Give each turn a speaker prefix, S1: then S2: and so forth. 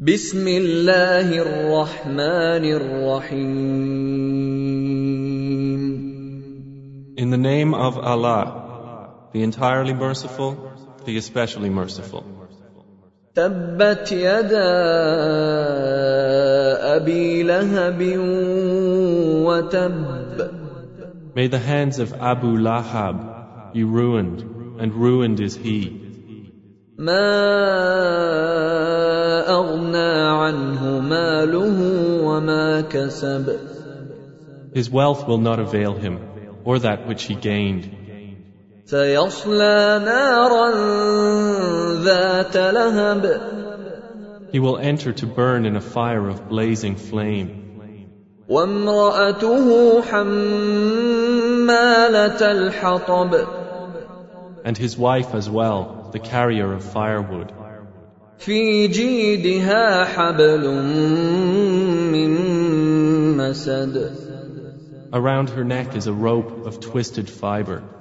S1: بسم الله الرحمن الرحيم
S2: In the name of Allah, the entirely merciful, the especially merciful.
S1: تبت يدا ابي لهب وتب
S2: May the hands of Abu Lahab be ruined, and ruined is he.
S1: ما اغنى عنه ماله وما كسب
S2: His wealth will not avail him, or that which he gained.
S1: سيصلى نارا ذات لهب
S2: He will enter to burn in a fire of blazing flame.
S1: وامرأته حمالة الحطب
S2: And his wife as well, the carrier of firewood.
S1: في جيدها حبل من مسد
S2: Around her neck is a rope of twisted fiber.